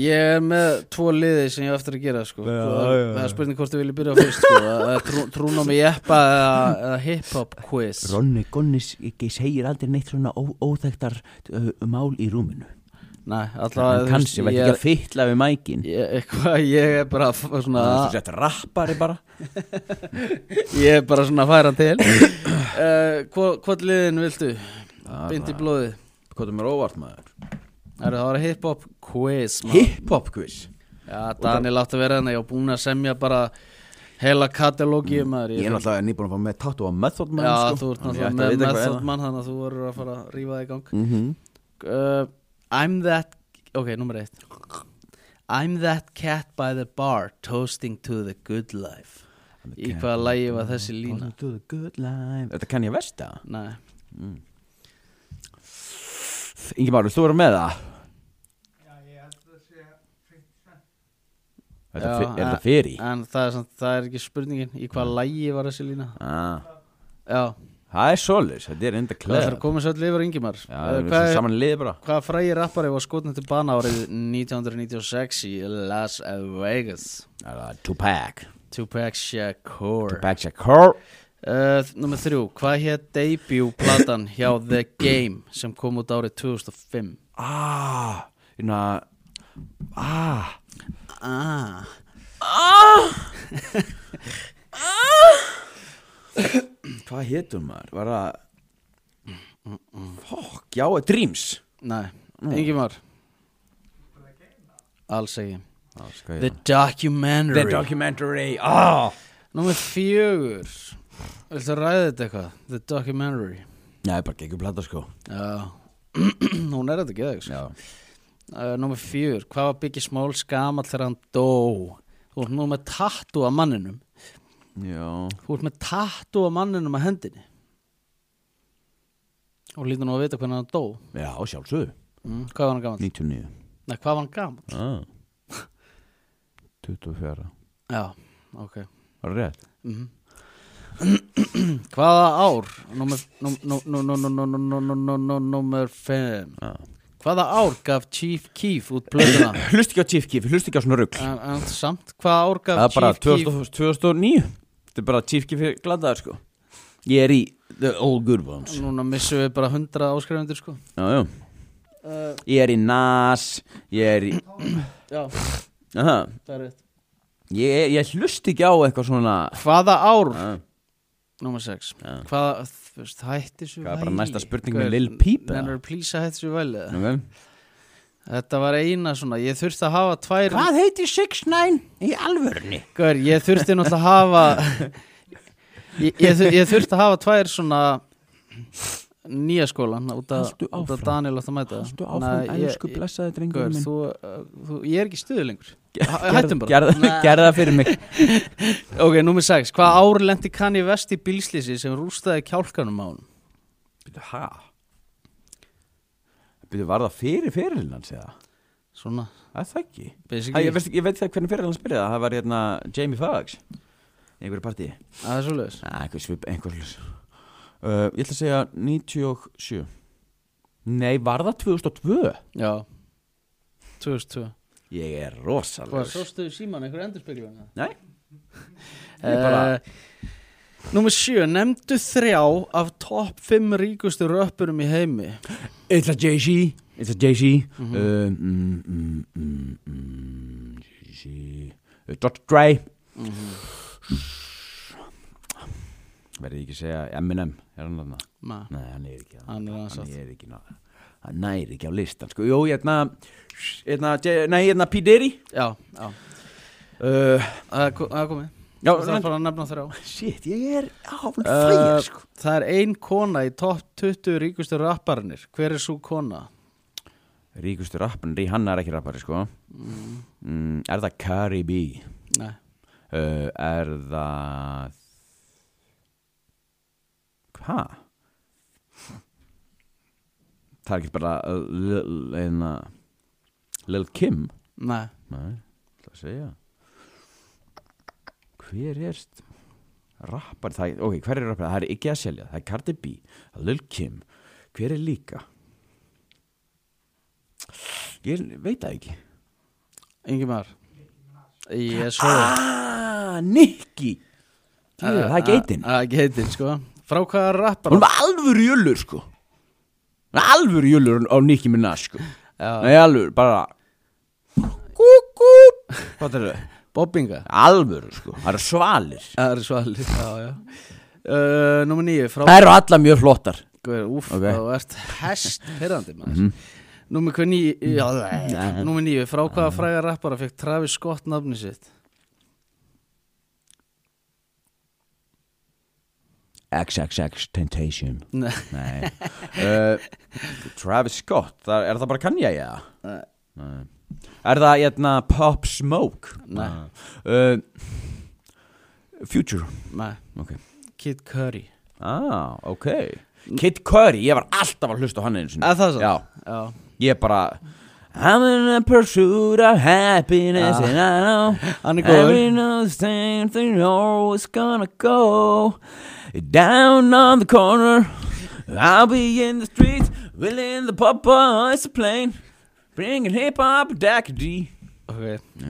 Ég er með tvo liði sem ég á eftir að gera sko. Já, Svo það- já, já. Það er spurning hvort þú vilja byrja á fyrst sko. Það það er trú, Trúnómi jeppa eða, eða hip-hop quiz Ronni Gonnis ekki segir aldrei neitt svona ó, óþægtar uh, mál í rúminu Nei, alltaf Hann kannski, verður ekki að fytla við mækin Ég, eitthvað, ég er bara f- svona, sett rappari bara ég er bara svona að færa til uh, Hvort hvort liðin viltu? Bind í blóði Hvað er mér óvart maður? Það var hip-hop quiz maður. Hip-hop quiz Já, Daniel átti að vera hérna. þannig og búin að semja bara heila katalógið maður Mm, Ég er náttúrulega nýbúin að fá með tattu á Method Man Já, sko. þú ert Þannig ég ætti náttúrulega að með vita hvað er method það. mann þannig að þú voru að fara að rífa það í gang Mhm. uh, I'm that ok, nummer eitt I'm that cat by the bar toasting to the good life í hvaða lægi var þessi lína Born to the good life. Mm. Þetta kann ég vest að nei, Ingi Márus, þú eru með það Er Já, eh, þetta fe- er en- þetta fyrir? en það er, samt, það er ekki spurningin í hvaða lægi var þessi lína Ah, já, Það er svolis, þetta er enda það þarf klæð að koma sér allir yfir Uh, yngimar Já, það er svo saman lið bara Hvaða frægi rappari var skotnum til bana árið 1996 í Las Vegas? Er það Tupac Tupac Shakur Tupac Shakur Uh, Númer þrjú, hvað hétt debut-platan hjá The Game sem kom út árið 2005? Ah, hérna Ah Ah, Hvað hétum maður? Var það Fokk, já, Dreams nei, Ingimar Alls ekki The The, Documentary the documentary ah. Númer fjögur Viltu ræða þetta eitthvað? The Documentary Nei, bara geggjum plata sko Já, hún er þetta ekki það Já uh, Númer fjögur, hvað var Biggie Smalls gamall þegar hann dó? Þú ert nú með tattu af manninum Já Þú ert með tattu af manninum að hendinni og lítur nú að vita hvernig hann dó Já, sjálfsögðu mm, Hvað var hann gaman? 99 Nei, hvað var hann gaman? ah. 24 Já, ok Var það rétt? mm. Hvaða ár? Númer nú- nú- nú- nú- nú- nú- nú- nú- nú- nú- nú- Númer 5 Já. Hvaða ár gaf Chief Keef út plöðuna? Hlust ekki á Chief Keef, hlust ekki á svona rugg en, en samt, hvaða ár Það gaf er bara Chief Keef 2000 2009 Þetta er bara Chief Keef er gladaður sko Ég er í The Old Good Ones Núna missum við bara 100 áskrifundir sko Já, já Ég er í Nas Ég er í Eh, Já, Aha, það er rétt ég, ég hlust ekki á eitthvað svona Hvaða ár? ah, Númer 6 Já. Hvaða, þú veist, hætti svo Hvað er bara væli? næsta spurning með Gaur, Lil Peep, eða? Nennir þú please að hætti svo væli eða? okay. Þetta var eina svona, ég þurfti að hafa tvær heitir 6ix9ine í alvörni? Gaur, ég þurfti náttúrulega að hafa ég, ég, þur- ég þurfti að hafa tvær svona nýja skólan út að, Haltu út að áfram. Daniel átt að mæta Haltu áfram, Nei, ég- elsku ég- blessaði drengur Gaur, minn þú, uh, þú, ég er ekki stuðu lengur Hæ- Hættum bara Gerð Nei. gerð það fyrir mig Ok, númer 6, hvað ár lendi Kanye West í bílslýsi sem rústaði kjálkanum á hann? Býtu, hæ? Býtu, var það fyrir fyrirlin hans eða? Svona, Það er það ekki Æ, basically ég, veist, ekki- ég veit það hvernig fyrirlin hans byrjaði Það var hérna Jamie Foxx Í einhverju partí Það er svo leiðis Næ, einhver svip, einhver ljus uh, Ég ætla að segja 97 Nei, var það 2002? Já 2002 Ég er Hvað, rosalega sástu síman einhver endurspyrjun? Nei. bara... Eh, Númer 7 Nemndu þrjá af topp 5 ríkustu röppurum í heimi Eh, It's a Jay-Z It's a Jay-Z mm mm, mm, mm, mm, Jay-Z Uh, Dr. Dre Mhm. Verði ekki að segja Eminem Er hann þarna? Ma, Nei, hann er ekki þarna. Hann er aðeins Hann að- er ekki ná- Hann næri ekki á listan sko Jú, hérna hérna, Jay- Nei, hérna P. Diddy Já, já uh, Það er ko- það er komið Já, Uh, Það er en- bara að nefna þrjá Shit, ég er sko. Háfn Eh, Það er ein kona í topp 20 ríkustu rapparinir Hver er svo kona? Ríkustu rapparinn, Rihanna er ekki rappari sko mm, Er það Cardi B? Nei uh, er það hva? það er ekki bara uh, Lil- hérna Lil Kim Nei Nei, það segja hver er st- rappar það, ok, hver er rappar, það er ekki að selja það er Cardi B, það er Lil Kim hver er líka ég veit það ekki Ingimar Ég svo Ah, Nikki Jú, Það er geitin Það er geitin, sko Frá hvaða rappar Hún var alvöru jölur sko Hún var Alvöru jölur á Nikki Minaj sko Já. Nei, alvöru, bara Kú, kú Hvað er það? Bobbinga Alvöru sko, það eru svalir Það er svalið Já, já Uh, Númer nýju frá Það eru alla mjög flottar Guður, úf, Ok. Mhm. þú ert hest pyrrandi maður Númer hver níu já, það- Númer níu, frá hvaða fræga rappara fekk Travis Scott nafni sitt? XXX Temptation Nei, Nei uh, Travis Scott, það, er það bara Kanye eða? Nei. Nei Er það hérna Pop Smoke? Nei. uh, Future nei, Ok Kid Curry Ah, ok Kid Curry, ég var alltaf að hlusta á hann einu sinni Að það svo? Já, já ég bara I'm in a pursuit of happiness Ah. and I know Hann er góður. Every know the same thing always gonna go Down on the corner I'll be in the streets Willing the pop-up is a plane Bringing hip-hop back D Ok,